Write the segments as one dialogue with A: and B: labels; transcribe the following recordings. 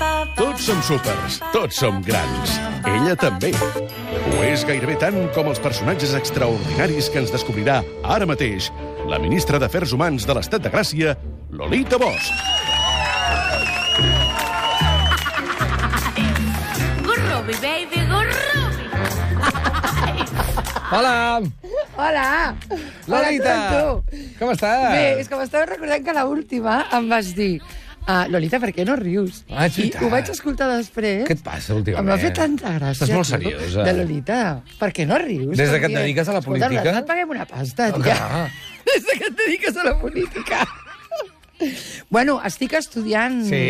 A: Tots som súpers, tots som grans. Ella també. Ho és gairebé tant com els personatges extraordinaris que ens descobrirà ara mateix la ministra d'Afers Humans de l'Estat de Gràcia, Lolita Bosch.
B: Gurrubi, baby, gurrubi.
C: Hola!
D: Hola!
C: Lolita!
D: Hola, tonto!
C: Com estàs?
D: Bé, és que m'estava recordant que l'última em vas dir ah, Lolita, per què no rius?
C: Ah, és
D: I
C: veritat.
D: ho vaig escoltar després.
C: Què et passa últimament?
D: Em va fer tanta gràcia.
C: Estàs molt
D: tio,
C: seriosa.
D: De Lolita, per què no rius?
C: Des de que et
D: Perquè,
C: dediques a la
D: escolta,
C: política?
D: nosaltres et paguem una pasta,
C: Ah,
D: tia.
C: clar.
D: Des de que et dediques a la política. bueno, estic estudiant
C: Sí?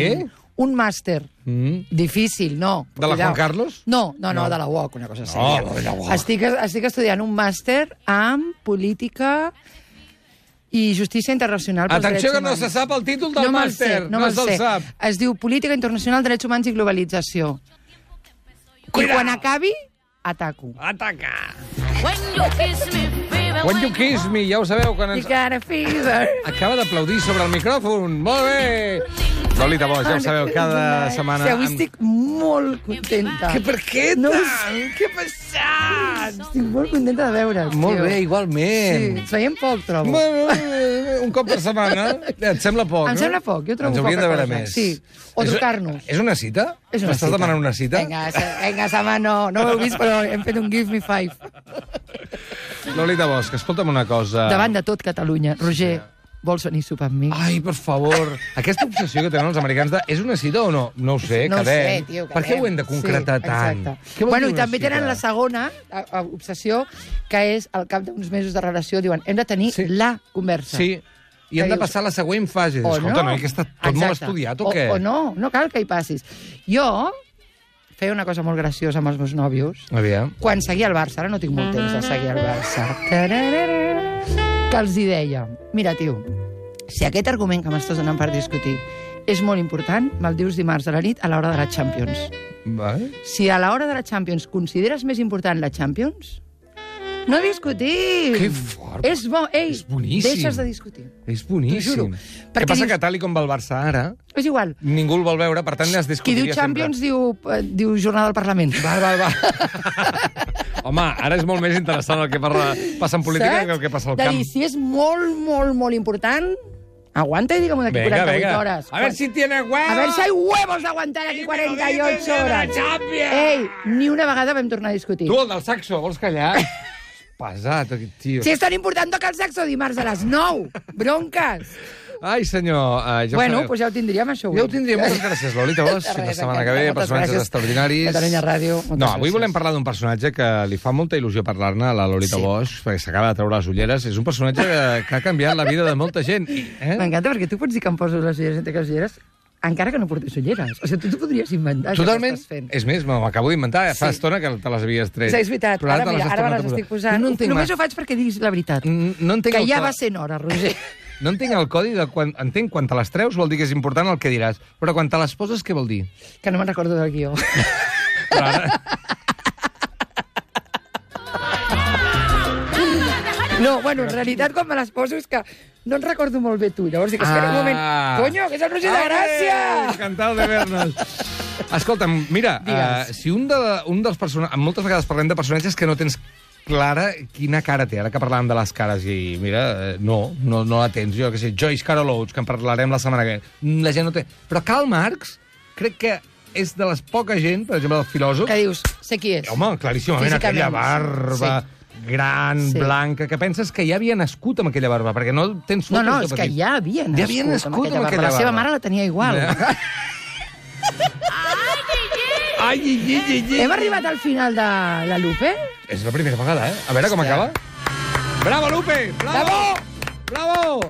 D: un màster.
C: Mm.
D: Difícil, no.
C: De la
D: Cuidao.
C: Juan Carlos?
D: No, no, no, de la UOC, una cosa sèria.
C: de la UOC.
D: Estic, estic estudiant un màster en política i justícia internacional pels
C: Atenció
D: drets
C: que no
D: humans.
C: se sap el títol del
D: no me'l sé,
C: màster.
D: No, me'l
C: se'l
D: sé.
C: sap.
D: Es diu Política Internacional, Drets Humans i Globalització. I quan acabi, ataco.
C: Ataca!
B: When you kiss me, baby,
C: When you kiss me, ja ho sabeu, quan
D: You
C: ens...
D: got a fever.
C: Acaba d'aplaudir sobre el micròfon. Molt bé! Lolita Bosch, ja ho sabeu, cada setmana...
D: Sí, eh? avui estic molt contenta.
C: Que per què
D: No ho
C: tant? Què ha passat?
D: Estic molt contenta de veure't.
C: Molt
D: tio.
C: bé,
D: Sí,
C: igualment.
D: ens veiem poc, trobo.
C: Bueno, eh, un cop per setmana. Et sembla poc,
D: Em
C: no?
D: sembla poc, jo trobo
C: Ens hauríem
D: poca
C: de veure
D: cosa,
C: més.
D: sí. O
C: És-
D: trucar-nos.
C: És una cita?
D: És una
C: M'estàs
D: cita.
C: demanant una cita?
D: Vinga, se, vinga, Sama, no, no ho heu vist, però hem fet un Give Me Five.
C: Lolita Bosch, escolta'm una cosa.
D: Davant de tot Catalunya. Roger, vols venir a sopar amb mi?
C: Ai, per favor. Aquesta obsessió que tenen els americans de... És una cita o no? No ho sé,
D: no ho
C: quedem.
D: sé, tio,
C: Eh, Per què
D: quedem.
C: ho hem de concretar
D: sí,
C: tant?
D: Exacte.
C: Què vol
D: bueno,
C: dir
D: i
C: una
D: també
C: cita?
D: tenen la segona a, a, obsessió, que és, al cap d'uns mesos de relació, diuen, hem de tenir
C: Sí.
D: sí. la conversa.
C: Sí, i hem
D: Que
C: de
D: dius-
C: passar a la següent fase.
D: O
C: Escolta,
D: no.
C: noi, que està tot molt
D: Exacte.
C: estudiat o, què?
D: O, o no, no cal que hi passis. Jo feia una cosa molt graciosa amb els meus nòvios,
C: Aviam.
D: quan seguia el Barça, ara no tinc molt temps de seguir el Barça, tararara, que els hi deia, mira, tio, si aquest argument que m'estàs donant per discutir és molt important, me'l dius dimarts a la nit a l'hora de la Champions.
C: Vale.
D: Si a l'hora de la Champions consideres més important la Champions, no discutim!
C: Que fort.
D: És bo, ei,
C: És boníssim.
D: deixes de discutir.
C: És
D: T'ho
C: boníssim.
D: juro.
C: Què
D: Perquè
C: passa
D: dius-
C: que tal i com va el Barça ara,
D: És igual.
C: ningú el vol veure, per tant es
D: Qui diu
C: discutiria
D: Champions diu, eh, diu Jornada del Parlament.
C: sempre. Va, va, va. Ah, Home, ara és molt més interessant el que parla, passa en política
D: Saps?
C: que el que passa al
D: de
C: camp.
D: Dir, si és molt, molt, molt important, aguanta i digue'm d'aquí 48 hores.
C: A ver si tiene huevos.
D: A ver si hay huevos d'aguantar aquí
C: me lo dices
D: 48
C: de la
D: hores.
C: Champions.
D: Ei, ni una vegada vam tornar a discutir.
C: Tu, el del saxo, vols callar? Pesat, aquest tio.
D: Si és tan important, toca el saxo dimarts a les 9. Bronques.
C: Ai, senyor, eh, ja ho
D: bueno,
C: sabeu.
D: doncs ja ho tindríem, això.
C: Ja ho
D: avui.
C: tindria. Moltes gràcies, Lolita Bosch.
D: De res,
C: La setmana que ve,
D: encantada. Moltes
C: personatges
D: gràcies.
C: extraordinaris.
D: Catalunya Ràdio, moltes
C: No, avui
D: gràcies.
C: volem parlar d'un personatge que li fa molta il·lusió parlar-ne, a la Lolita
D: Sí.
C: Bosch, perquè s'acaba de treure les ulleres. És un personatge que, que ha canviat la vida de molta gent. I- Eh?
D: M'encanta, perquè tu pots dir que em poso les ulleres entre que les ulleres, encara que no portis ulleres. O sigui, tu t'ho podries inventar, això que
C: Totalment. Eh,
D: estàs fent.
C: És més, me m'acabo d'inventar. Fa
D: Sí.
C: estona que te les havies tret.
D: Sí, és veritat.
C: Però
D: Ara,
C: te
D: mira,
C: has
D: ara me
C: tornat
D: les
C: a posar.
D: estic posant.
C: No entenc,
D: Només
C: la-
D: ho faig perquè diguis la veritat.
C: Mm, no entenc
D: que
C: el
D: ja
C: que-
D: va sent hora, Roger.
C: no entenc el codi de quan... Entenc quan te les treus vol dir que és important el que diràs, però quan te les poses què vol dir?
D: que no me'n recordo del guió.
C: Però ara...
D: No, bueno, en realitat quan me les poso és que no en recordo molt bé tu. Llavors dic, espera un moment. Conyo, que és el Roger de
C: Ah. Ai,
D: Gràcia!
C: Encantat de ver-nos. Escolta'm, mira,
D: Digues.
C: uh, si un, de, un dels personatges... Moltes vegades parlem de personatges que no tens clara quina cara té, ara que parlàvem de les cares i mira, eh, no, no, no la tens jo que sé, Joyce Carol Oates, que en parlarem la setmana que ve la gent no té, però Karl Marx crec que és de les poca gent per exemple del filòsof,
D: Que dius, sé qui és.
C: Home, claríssimament,
D: Físicament,
C: aquella barba sí. gran, sí.
D: Sí.
C: blanca, que penses que ja havia nascut amb aquella barba, perquè no tens
D: No,
C: fotos
D: no,
C: de
D: és que
C: petit.
D: ja havia nascut,
C: Ja havia nascut amb aquella
D: La
C: barba.
D: seva mare la tenia igual.
C: Ja. Ai, i, i, i, i.
D: Hem arribat al final de la Lupe?
C: És la primera vegada, eh? A veure com
D: Hòstia.
C: acaba. Bravo, Lupe! Bravo! Bravo!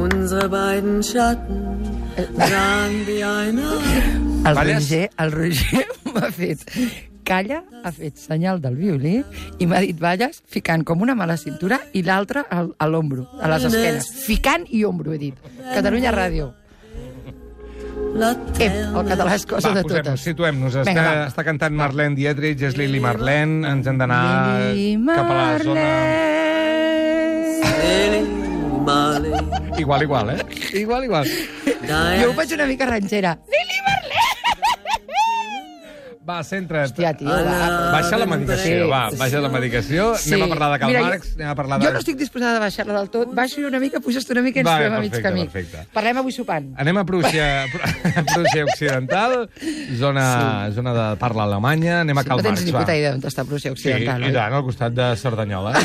E: Unsere beiden Schatten sahen wie einer.
D: El
C: Balles.
D: Roger, el Roger m'ha fet calla, ha fet senyal del violí i m'ha dit balles ficant com una mà a la cintura i l'altra al- a l'ombro, a les esquenes. Ficant i ombro, he dit. Catalunya Ràdio. Ep, el català és cosa
C: Va,
D: de
C: posem-nos,
D: totes.
C: situem-nos. Està,
D: Vinga, va.
C: està cantant Marlene Dietrich, és Lili Marlene. Ens hem d'anar
D: Lili
C: cap a la zona...
D: Marlene.
E: Lili, Marley,
C: Igual, igual, eh? Igual, igual.
D: Jo ho
E: Diane,
D: faig una mica ranxera. Lili Marlene!
C: va, centra't.
D: Hòstia, tio,
E: Hola.
D: va.
C: Baixa la medicació,
D: Sí.
C: va, baixa la medicació.
D: Sí.
C: Anem a parlar de Karl
D: Mira,
C: Marx, anem a parlar de...
D: Jo no estic disposada a baixar-la del tot. Baixo una mica, puges tu una mica i ens
C: Vale,
D: trobem a mig
C: perfecte,
D: camí.
C: perfecte. Eh,
D: Parlem avui sopant.
C: Anem a Prússia, a Prússia Occidental, zona, sí. zona de parla alemanya, anem a Karl
D: no tens
C: Marx,
D: ni
C: va.
D: puta idea on està Prússia
C: Sí,
D: Occidental, Ah,
C: i tant, al costat de Cerdanyola. eh?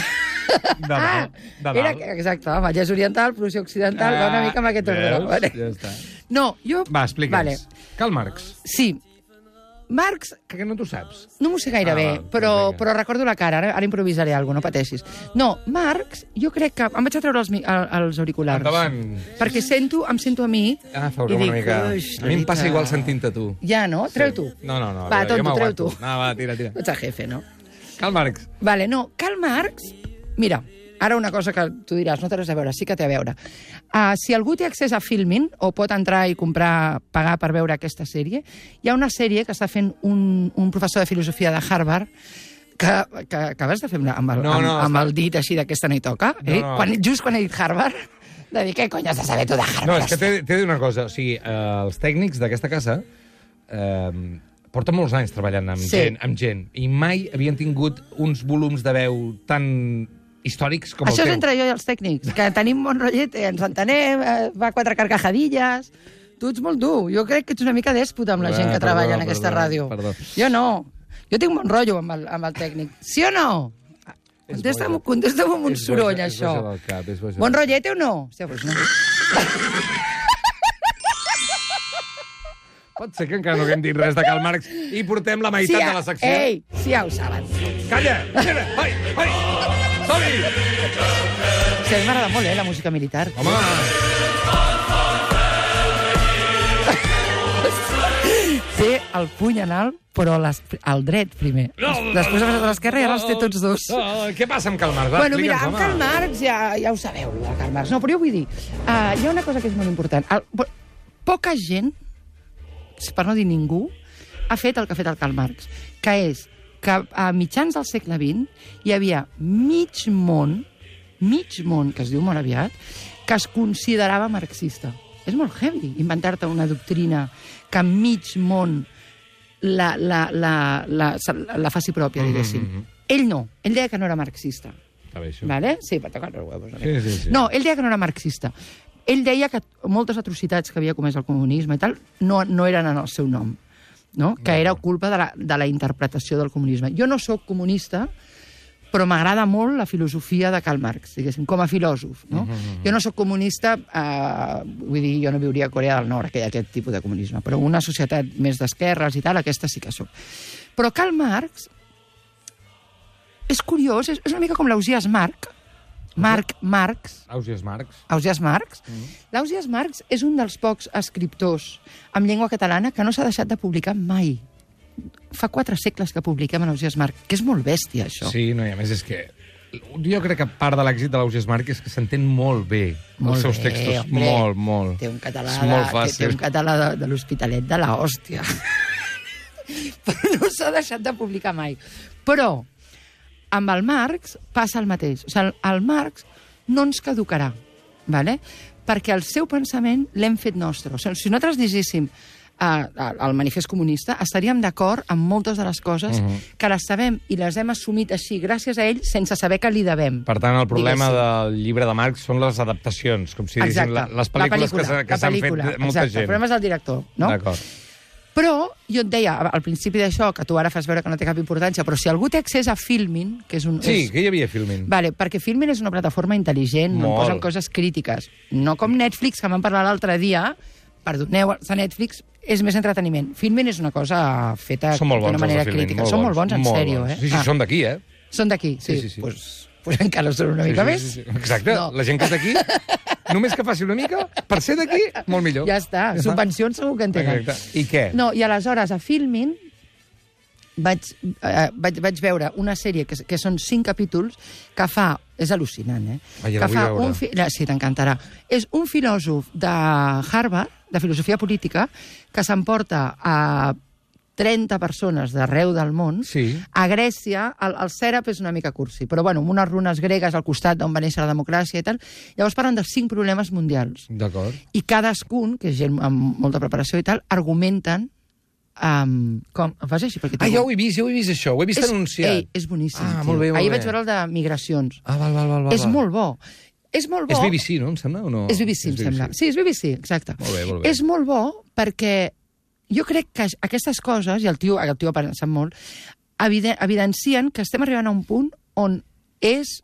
C: De dalt, de dalt. Ah,
D: Era, exacte, home, ja és oriental, Prússia Occidental, va una mica amb aquest ordre.
C: Veus?
D: Vale.
C: Ja està.
D: No, jo...
C: Va, explica'ns.
D: Vale.
C: Karl Marx,
D: Sí, Marx
C: que, que no t'ho saps.
D: No m'ho sé gaire
C: Ah,
D: ah, bé,
C: va,
D: però,
C: vinga.
D: però recordo la cara. Ara, ara improvisaré alguna cosa, no pateixis. No, Marx, jo crec que... Em vaig a treure els, mi- el- els auriculars.
C: Endavant.
D: Perquè sento, em sento a mi...
C: Ah, fa
D: i
C: una
D: dic,
C: mica...
D: "Uix,
C: A mi em passa
D: Rita".
C: igual sentint-te tu.
D: Ja, no? Treu tu.
C: No, no, no.
D: Va,
C: jo
D: tonto, treu
C: m'aguanto.
D: tu.
C: No, va, tira, tira.
D: Tu ets el jefe, no?
C: Karl Marx.
D: Vale, no, Karl Marx... Mira, ara una cosa que tu diràs, no té res a veure, sí que té a veure. Uh, si algú té accés a Filmin, o pot entrar i comprar, pagar per veure aquesta sèrie, hi ha una sèrie que està fent un, un professor de filosofia de Harvard que, que acabes de fer amb, la- amb, el,
C: No, no,
D: amb, amb
C: està-
D: el dit així d'aquesta no hi toca,
C: No,
D: eh?
C: no.
D: Quan, just quan he dit Harvard, de dir, què cony has de saber tu de Harvard?
C: No, és que t'he t'he de dir una cosa. O sigui, eh, els tècnics d'aquesta casa eh, porten molts anys treballant amb,
D: Sí.
C: sí. gent, amb gent i mai havien tingut uns volums de veu tan històrics com
D: Això
C: el
D: és
C: teu.
D: entre jo i els tècnics, que tenim bon rotllet, eh, ens entenem, eh, va quatre carcajadilles... Tu ets molt dur. Jo crec que ets una mica dèspota amb la
C: Ah,
D: gent que
C: perdó,
D: treballa en aquesta
C: perdó,
D: ràdio.
C: perdó.
D: Jo no. Jo tinc bon rotllo amb el, amb el tècnic. Sí o no? Contesta'm, contesta'm amb un
C: És boja,
D: soroll,
C: és
D: això.
C: boja del cap, és boja
D: bon
C: del
D: rotllete o no? Hòstia, doncs no.
C: Pot ser que encara no haguem dit res de Karl Marx i portem la meitat de la secció.
D: Ei, sí, ja ho saben.
C: Calla! Calla! Ai, ai! Som-hi!
D: Sí, a mi m'agrada molt, eh, la música militar.
C: Home!
D: Té el puny en alt, però les, el dret primer. Des- Després ha passat a l'esquerra i ara els té tots dos.
C: Ah, què passa amb Karl Marx? Va,
D: Bueno, mira,
C: explica'ns, home.
D: amb Karl Marx ja, ja ho sabeu, la Karl Marx. No, però jo vull dir, uh, hi ha una cosa que és molt important. El, po- poca gent, per no dir ningú, ha fet el que ha fet el Karl Marx, que és que a mitjans del segle XX hi havia mig món, mig món, que es diu molt aviat, que es considerava marxista. És molt heavy inventar-te una doctrina que mig món la, la, la, la, la, la faci pròpia,
C: Mm-hmm,
D: diguéssim. Ell no. Ell deia que no era marxista.
C: Està bé, això.
D: Vale? Sí, per tocar els huevos. una
C: Sí,
D: mica.
C: sí, sí.
D: No, ell deia que no era marxista. Ell deia que moltes atrocitats que havia comès el comunisme i tal no, no eren en el seu nom, no? que era culpa de la, de la interpretació del comunisme. Jo no sóc comunista, però m'agrada molt la filosofia de Karl Marx, diguéssim, com a filòsof. No?
C: Mm-hmm,
D: Jo no sóc comunista, eh, vull dir, jo no viuria a Corea del Nord, aquell, aquest tipus de comunisme, però una societat més d'esquerres i tal, aquesta sí que sóc. Però Karl Marx és curiós, és, és una mica com l'Ausias Marc, Marc Marx,
C: Ausias Marx.
D: Ausias Marx. L'Ausias Marx és un dels pocs escriptors amb llengua catalana que no s'ha deixat de publicar mai. Fa quatre segles que publiquem en Ausias Marx, que és molt bèstia, això.
C: Sí, no, i a més és que jo crec que part de l'èxit de l'Ausias Marc és que s'entén molt bé
D: Molt
C: els seus
D: bé,
C: textos.
D: hombre.
C: Molt, molt.
D: Té un català,
C: és molt
D: de, té, té
C: fàcil.
D: un català de, de l'Hospitalet de la hòstia. Però no s'ha deixat de publicar mai. Però amb el Marx passa el mateix. O sigui, el, el Marx no ens caducarà, vale? perquè el seu pensament l'hem fet nostre. O sigui, si nosaltres llegíssim eh, el manifest comunista, estaríem d'acord amb moltes de les coses
C: Mhm.
D: uh -huh. que les sabem i les hem assumit així gràcies a ell sense saber que li devem.
C: Per tant, el problema
D: Diguéssim.
C: del llibre de Marx són les adaptacions, com si diguéssim, la, les
D: La
C: pel·lícules que s'ha- que
D: la
C: s'han fet
D: pel·lícula,
C: molta
D: exacte. El
C: gent.
D: problema és el director, no?
C: D'acord.
D: Però jo et deia al principi d'això, que tu ara fas veure que no té cap importància, però si algú té accés a Filmin, que és un...
C: Sí,
D: és...
C: que hi havia filmin.
D: Vale, perquè Filmin és una plataforma intel·ligent, on
C: Molt.
D: posen coses crítiques. No com Netflix, que vam parlar l'altre dia, perdoneu, a Netflix és més entreteniment. Filmin és una cosa feta
C: Són molt bons,
D: d'una manera
C: els de Filmin.
D: crítica. són molt bons, en
C: molt
D: sèrio,
C: bons.
D: eh?
C: Sí, sí,
D: Ah,
C: són d'aquí, eh?
D: són d'aquí, sí.
C: Sí, sí, sí.
D: Pues, pues encara ho són una
C: Sí,
D: mica
C: sí, sí, sí.
D: més.
C: Exacte,
D: No.
C: la gent que és d'aquí, només que faci una mica, per ser d'aquí, molt millor.
D: Ja està, subvencions segur que en tenen.
C: Exacte. I què?
D: No, i aleshores a Filmin vaig, eh, vaig, vaig veure una sèrie que, que són cinc capítols que fa... És al·lucinant, eh?
C: Ai, ja la
D: que
C: vull
D: fa
C: veure.
D: un fi... no, Sí, t'encantarà. És un filòsof de Harvard, de filosofia política, que s'emporta a 30 persones d'arreu del món.
C: Sí.
D: A Grècia, el, el Sèrap és una mica cursi, però bueno, amb unes runes gregues al costat d'on va néixer la democràcia i tal. Llavors parlen de cinc problemes mundials
C: D'acord.
D: i cadascun, que és gent amb molta preparació i tal, argumenten Um, com? Em fas així? Perquè
C: Ah, jo ho he vist, jo ho he vist, això. Ho he vist
D: és,
C: anunciat.
D: Ei, és boníssim,
C: Ah,
D: tio.
C: molt bé, molt
D: Ahir
C: bé.
D: vaig veure el de migracions.
C: Ah, val, val, val. val
D: és
C: val.
D: molt bo. És molt bo.
C: És BBC, no? Em sembla, o no?
D: És BBC, em sembla. Sí, és BBC, exacte.
C: Molt bé, molt bé.
D: És molt bo perquè jo crec que aquestes coses, i el tio, el tio ha pensat molt, eviden evidencien que estem arribant a un punt on és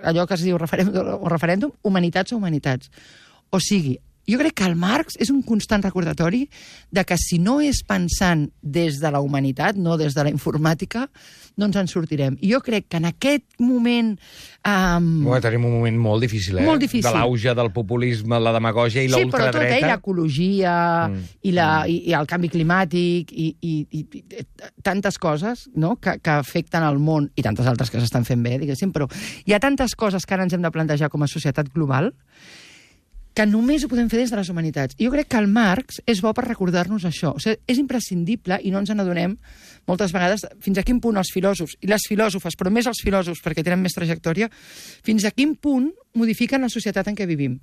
D: allò que es diu referèndum, o referèndum humanitats o humanitats. O sigui, jo crec que el Marx és un constant recordatori de que si no és pensant des de la humanitat, no des de la informàtica, no ens en sortirem. I jo crec que en aquest moment... Um,
C: Bueno, tenim un moment molt difícil, eh?
D: Molt difícil.
C: De l'auge del populisme, la demagogia i la
D: Sí, però tot, eh? I
C: ultradreta.
D: l'ecologia,
C: Mm.
D: mm. i, la, i, i el canvi climàtic, i, i, i, i t- tantes coses no? que, que afecten el món, i tantes altres que s'estan fent bé, diguéssim, però hi ha tantes coses que ara ens hem de plantejar com a societat global que només ho podem fer des de les humanitats. I Jo crec que el Marx és bo per recordar-nos això. O sigui, és imprescindible i no ens n'adonem moltes vegades fins a quin punt els filòsofs, i les filòsofes, però més els filòsofs perquè tenen més trajectòria, fins a quin punt modifiquen la societat en què vivim.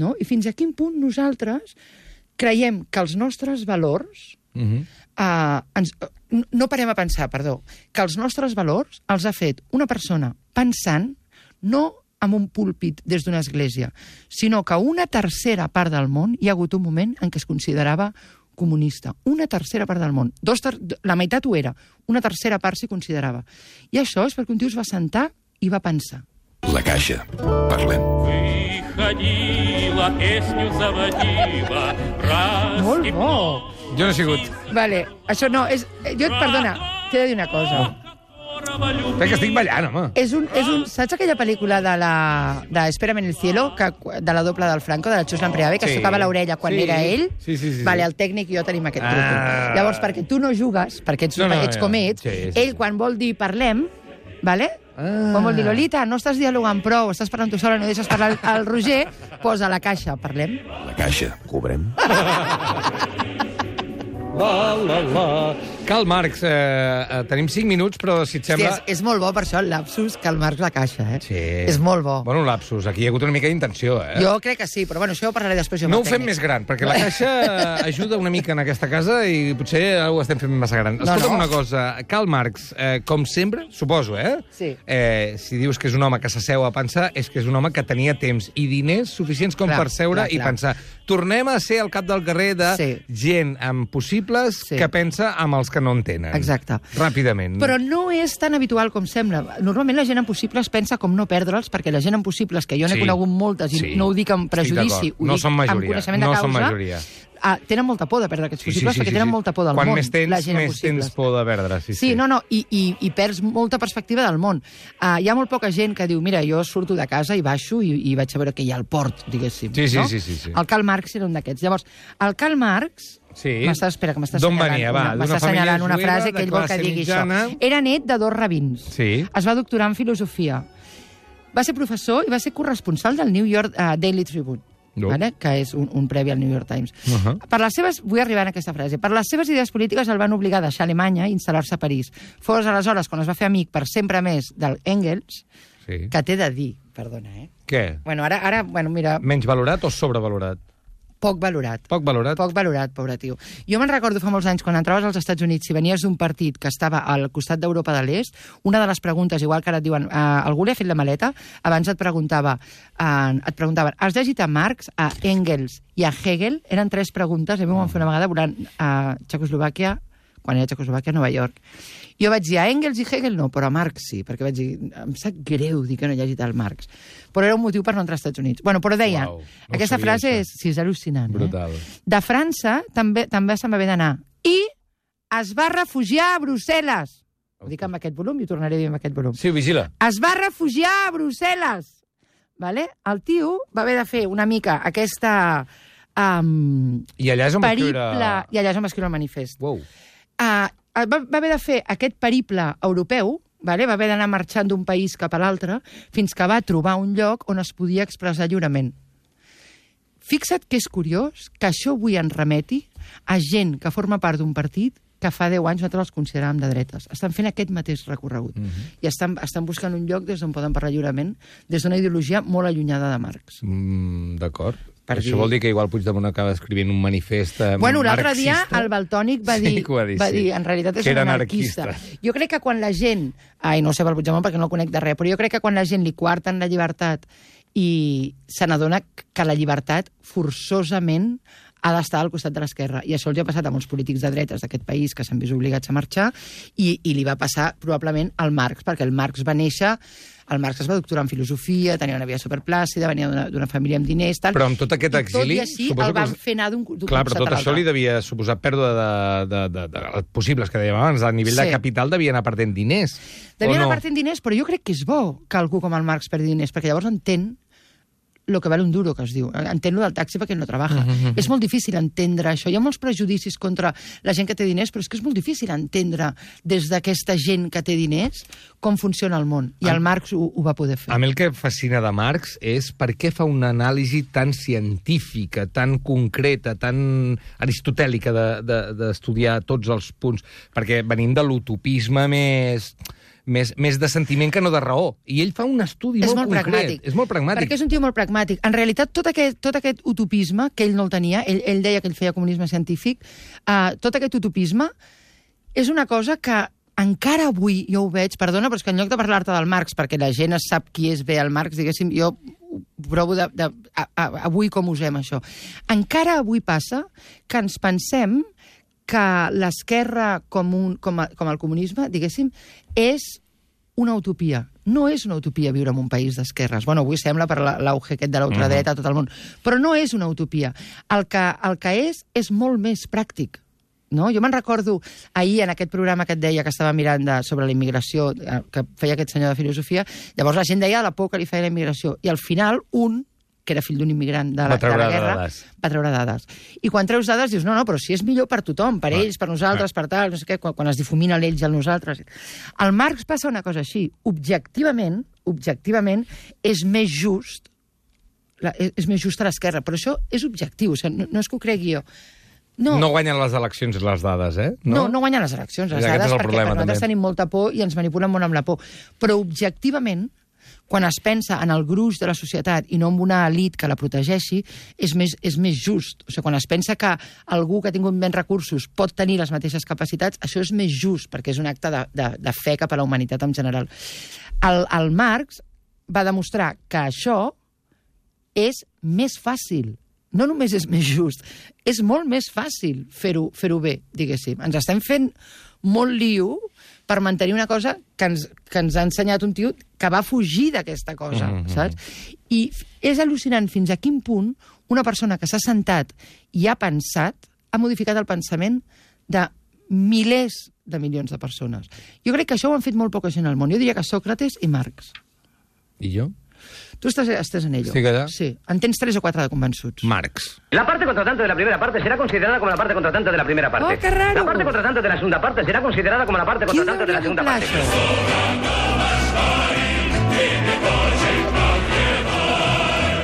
D: No? I fins a quin punt nosaltres creiem que els nostres valors
C: Mhm.
D: eh, ens, no- no parem a pensar, perdó, que els nostres valors els ha fet una persona pensant no amb un púlpit des d'una església, sinó que una tercera part del món hi ha hagut un moment en què es considerava comunista. Una tercera part del món. Dos ter la meitat ho era, una tercera part s'hi considerava. I això és perquè un tio es va sentar i va pensar.
F: La Caixa. Parlem.
G: Ходила, песню заводила, раз
D: Molt
G: и
D: bo!
C: Jo no he sigut.
D: Vale, això no, és... eh, Jo et perdona, t'he de dir una cosa.
G: которого любил.
C: Crec que estic ballant, home.
D: És un, és
C: Ah.
D: un, saps aquella pel·lícula de la... De Espérame en el cielo, que, de la doble del Franco, de la Chus Lampreave, que
C: Sí.
D: es tocava l'orella quan
C: Sí.
D: era ell?
C: Sí, sí, sí,
D: Vale,
C: sí.
D: el tècnic i jo tenim aquest
C: Ah.
D: truc. Llavors, perquè tu no jugues, perquè ets,
C: No,
D: no,
C: no,
D: no, ets
C: ja.
D: com ets,
C: Sí, sí,
D: ell
C: sí.
D: quan vol dir parlem, vale?
C: Ah.
D: Quan vol dir, Lolita, no estàs dialogant prou, estàs parlant tu sola, no deixes parlar el- el Roger, posa la caixa, parlem.
F: La Caixa. Cobrem?
C: La, la, la. Cal, Marx, eh, eh, tenim 5 minuts, però si et sembla...
D: Hòstia, és, és molt bo per això el lapsus que el marcs la caixa, eh?
C: Sí.
D: És molt bo.
C: Bueno, un lapsus. Aquí hi ha hagut una mica d'intenció, eh?
D: Jo crec que sí, però bueno, això ho parlaré després. jo amb
C: No ho
D: el
C: fem
D: tècnic.
C: més gran, perquè la caixa eh, ajuda una mica en aquesta casa i potser ara ho estem fent massa gran.
D: No,
C: Escolta'm
D: no.
C: una cosa, Karl Marx, eh, com sempre, suposo, eh?
D: Sí.
C: eh? Si dius que és un home que s'asseu a pensar, és que és un home que tenia temps i diners suficients com
D: Clar,
C: per seure
D: clar,
C: i
D: clar.
C: pensar. Tornem a ser al cap del carrer de
D: Sí.
C: gent amb possibles
D: Sí.
C: que pensa amb els que no en tenen.
D: Exacte.
C: Ràpidament.
D: Però no és tan habitual com sembla. Normalment la gent amb possibles pensa com no perdre'ls, perquè la gent amb possibles, que jo n'he
C: Sí.
D: conegut moltes, i
C: Sí.
D: no ho dic amb
C: Estic
D: prejudici,
C: d'acord.
D: ho
C: No
D: dic
C: són majoria,
D: amb coneixement de
C: no
D: causa,
C: són majoria.
D: Ah, tenen molta por de perdre aquests possibles, perquè tenen molta por del
C: Quan
D: món,
C: més tens,
D: la gent amb
C: més
D: possibles.
C: tens por de perdre. Sí,
D: Sí, sí, no, no, i, i, i perds molta perspectiva del món. Uh, hi ha molt poca gent que diu, mira, jo surto de casa i baixo i, i vaig a veure que hi ha al port, diguéssim.
C: Sí, sí,
D: no?
C: sí, sí, sí.
D: El Karl Marx era un d'aquests. Llavors, el Karl Marx...
C: Sí.
D: M'està, espera, que m'està
C: D'on
D: assenyalant
C: venia, va?
D: una-
C: D'una
D: m'està
C: família
D: assenyalant una
C: jueva,
D: frase
C: de
D: que ell vol que
C: classe
D: digui
C: mitjana.
D: això. Era net de dos rabins.
C: Sí.
D: Es va doctorar en filosofia. Va ser professor i va ser corresponsal del New York uh, Daily Tribune.
C: No.
D: Vale? que és un, un previ al New York Times.
C: Ahà.
D: Per les seves, vull arribar a aquesta frase, per les seves idees polítiques el van obligar a deixar Alemanya i instal·lar-se a París. Fos aleshores quan es va fer amic per sempre més del Engels,
C: Sí.
D: que t'he de dir, perdona, eh?
C: Què?
D: Bueno, ara, ara bueno, mira,
C: Menys valorat o sobrevalorat?
D: poc valorat.
C: Poc valorat?
D: Poc valorat, pobre tio. Jo me'n recordo fa molts anys, quan entraves als Estats Units, si venies d'un partit que estava al costat d'Europa de l'Est, una de les preguntes, igual que ara et diuen, eh, algú li ha fet la maleta, abans et preguntava, eh, et preguntaven, has llegit a Marx, a Engels i a Hegel? Eren tres preguntes, a mi m'ho van fer
C: Ah.
D: una vegada volant a Txecoslovàquia, quan era Txecoslovàquia, a Nova York. Jo vaig dir a Engels i Hegel no, però a Marx sí, perquè vaig dir, em sap greu dir que no he llegit el Marx. Però era un motiu per no entrar als Estats Units. Bueno, però deia,
C: Uau, no ho
D: aquesta
C: sabia,
D: frase
C: això.
D: és, sí, és al·lucinant.
C: Brutal.
D: Eh? De França també també se'n va haver d'anar. I es va refugiar a Brussel·les. Ho dic amb aquest volum i ho tornaré a dir amb aquest volum.
C: Sí, vigila.
D: Es va refugiar a Brussel·les. Vale? El tio va haver de fer una mica aquesta... Um,
C: I allà és on va
D: periple...
C: escriure...
D: I allà és on va escriure el manifest.
C: Wow.
D: Uh, va, va haver de fer aquest periple europeu, vale? va haver d'anar marxant d'un país cap a l'altre, fins que va trobar un lloc on es podia expressar lliurement. Fixa't que és curiós que això avui ens remeti a gent que forma part d'un partit que fa 10 anys nosaltres els consideràvem de dretes. Estan fent aquest mateix recorregut. Mm -hmm. I estan, estan buscant un lloc des d'on poden parlar lliurement, des d'una ideologia molt allunyada de Marx.
C: Mm, D'acord.
D: per
C: Això
D: dir...
C: vol dir que igual Puigdemont acaba escrivint un manifest eh,
D: Bueno, l'altre dia
C: marxista.
D: el Baltònic va
C: Sí
D: dir,
C: que ho ha dit,
D: va
C: sí.
D: dir en realitat és
C: Que
D: un
C: era
D: anarquista.
C: anarquista.
D: Jo crec que quan la gent... Ai, no ho sé pel Puigdemont perquè no el conec de res, però jo crec que quan la gent li quarten la llibertat i se n'adona que la llibertat forçosament ha d'estar al costat de l'esquerra. I això els hi ha passat a molts polítics de dretes d'aquest país que s'han vist obligats a marxar i, i li va passar probablement al Marx, perquè el Marx va néixer... El Marx es va doctorar en filosofia, tenia una vida superplàcida, venia d'una- d'una família amb diners... Tal,
C: Però amb tot aquest
D: I tot
C: exili,
D: i així
C: suposo
D: el
C: que
D: van
C: us-
D: fer anar d'un d'un
C: Clar, però
D: costat
C: tot
D: a
C: això
D: l'altre.
C: li devia suposar pèrdua de, de, de, de, de possibles, que dèiem abans, a nivell sí.
D: Sí.
C: de capital devia anar perdent diners.
D: Devia
C: o
D: anar
C: no?
D: partint diners, però jo crec que és bo que algú com el Marx perdi diners, perquè llavors entén lo que val un duro, que es diu. Entén lo del taxi perquè no treballa.
C: Mm-hmm,
D: És molt difícil entendre això. Hi ha molts prejudicis contra la gent que té diners, però és que és molt difícil entendre des d'aquesta gent que té diners com funciona el món. I el Marx ho, ho va poder fer.
C: A mi el que fascina de Marx és per què fa una anàlisi tan científica, tan concreta, tan aristotèlica de- de- d'estudiar de, tots els punts. Perquè venim de l'utopisme més, més, més de sentiment que no de raó. I ell fa un estudi
D: és
C: molt,
D: molt
C: concret.
D: pragmàtic.
C: És molt pragmàtic.
D: Perquè és un tio molt pragmàtic. En realitat, tot aquest, tot aquest utopisme, que ell no el tenia, ell, ell deia que ell feia comunisme científic, uh, tot aquest utopisme és una cosa que encara avui jo ho veig, perdona, però és que en lloc de parlar-te del Marx, perquè la gent es sap qui és bé el Marx, diguéssim, jo ho provo de, de, a, a, avui com usem això. Encara avui passa que ens pensem que l'esquerra com, un, com, a, com el comunisme, diguéssim, és una utopia. No és una utopia viure en un país d'esquerres. Bueno, avui sembla per la- l'auge aquest de la ultradreta a tot el món. Però no és una utopia. El que, el que és, és molt més pràctic. No? Jo me'n recordo ahir en aquest programa que et deia que estava mirant de, sobre la immigració, eh, que feia aquest senyor de filosofia, llavors la gent deia "Ah, la por que li feia la immigració. I al final, un, que era fill d'un immigrant de la,
C: Va treure
D: de la guerra,
C: dades.
D: va treure dades. I quan treus dades dius, no, no, però si és millor per tothom, per
C: Ah,
D: ells, per nosaltres, per tal, no sé què, quan, quan es difumina l'ells i el nosaltres. Al Marx passa una cosa així. Objectivament, objectivament, és més just la, és, és més just a l'esquerra, però això és objectiu, o sigui, no, no és que ho cregui jo. No,
C: no guanyen les eleccions les dades, eh?
D: no, no guanyen les eleccions. Les
C: Aquest
D: dades,
C: és el
D: perquè
C: problema,
D: per nosaltres
C: també.
D: tenim molta por i ens manipulen molt amb la por. Però objectivament, quan es pensa en el gruix de la societat i no en una elit que la protegeixi, és més, és més just. O sigui, quan es pensa que algú que ha tingut menys recursos pot tenir les mateixes capacitats, això és més just, perquè és un acte de, de, de fe cap a la humanitat en general. El, el Marx va demostrar que això és més fàcil. No només és més just, és molt més fàcil fer-ho fer bé, diguéssim. Ens estem fent molt liu per mantenir una cosa que ens, que ens ha ensenyat un tio que va fugir d'aquesta cosa, mm -hmm. saps? I f- és al·lucinant fins a quin punt una persona que s'ha sentat i ha pensat ha modificat el pensament de milers de milions de persones. Jo crec que això ho han fet molt poca gent al món. Jo diria que Sòcrates i Marx.
C: I jo?
D: Tu estàs, estàs en ello.
C: Estic allà?
D: Sí. En tens tres o quatre de convençuts.
C: Marx.
H: La parte contratante de la primera parte será considerada como la parte contratante de la primera parte.
D: Oh, qué raro.
H: La parte contratante de la segunda parte será considerada como la parte
D: Qui ho
H: contratante de la
D: hauria
H: segunda
D: doblat,
H: parte.
D: això?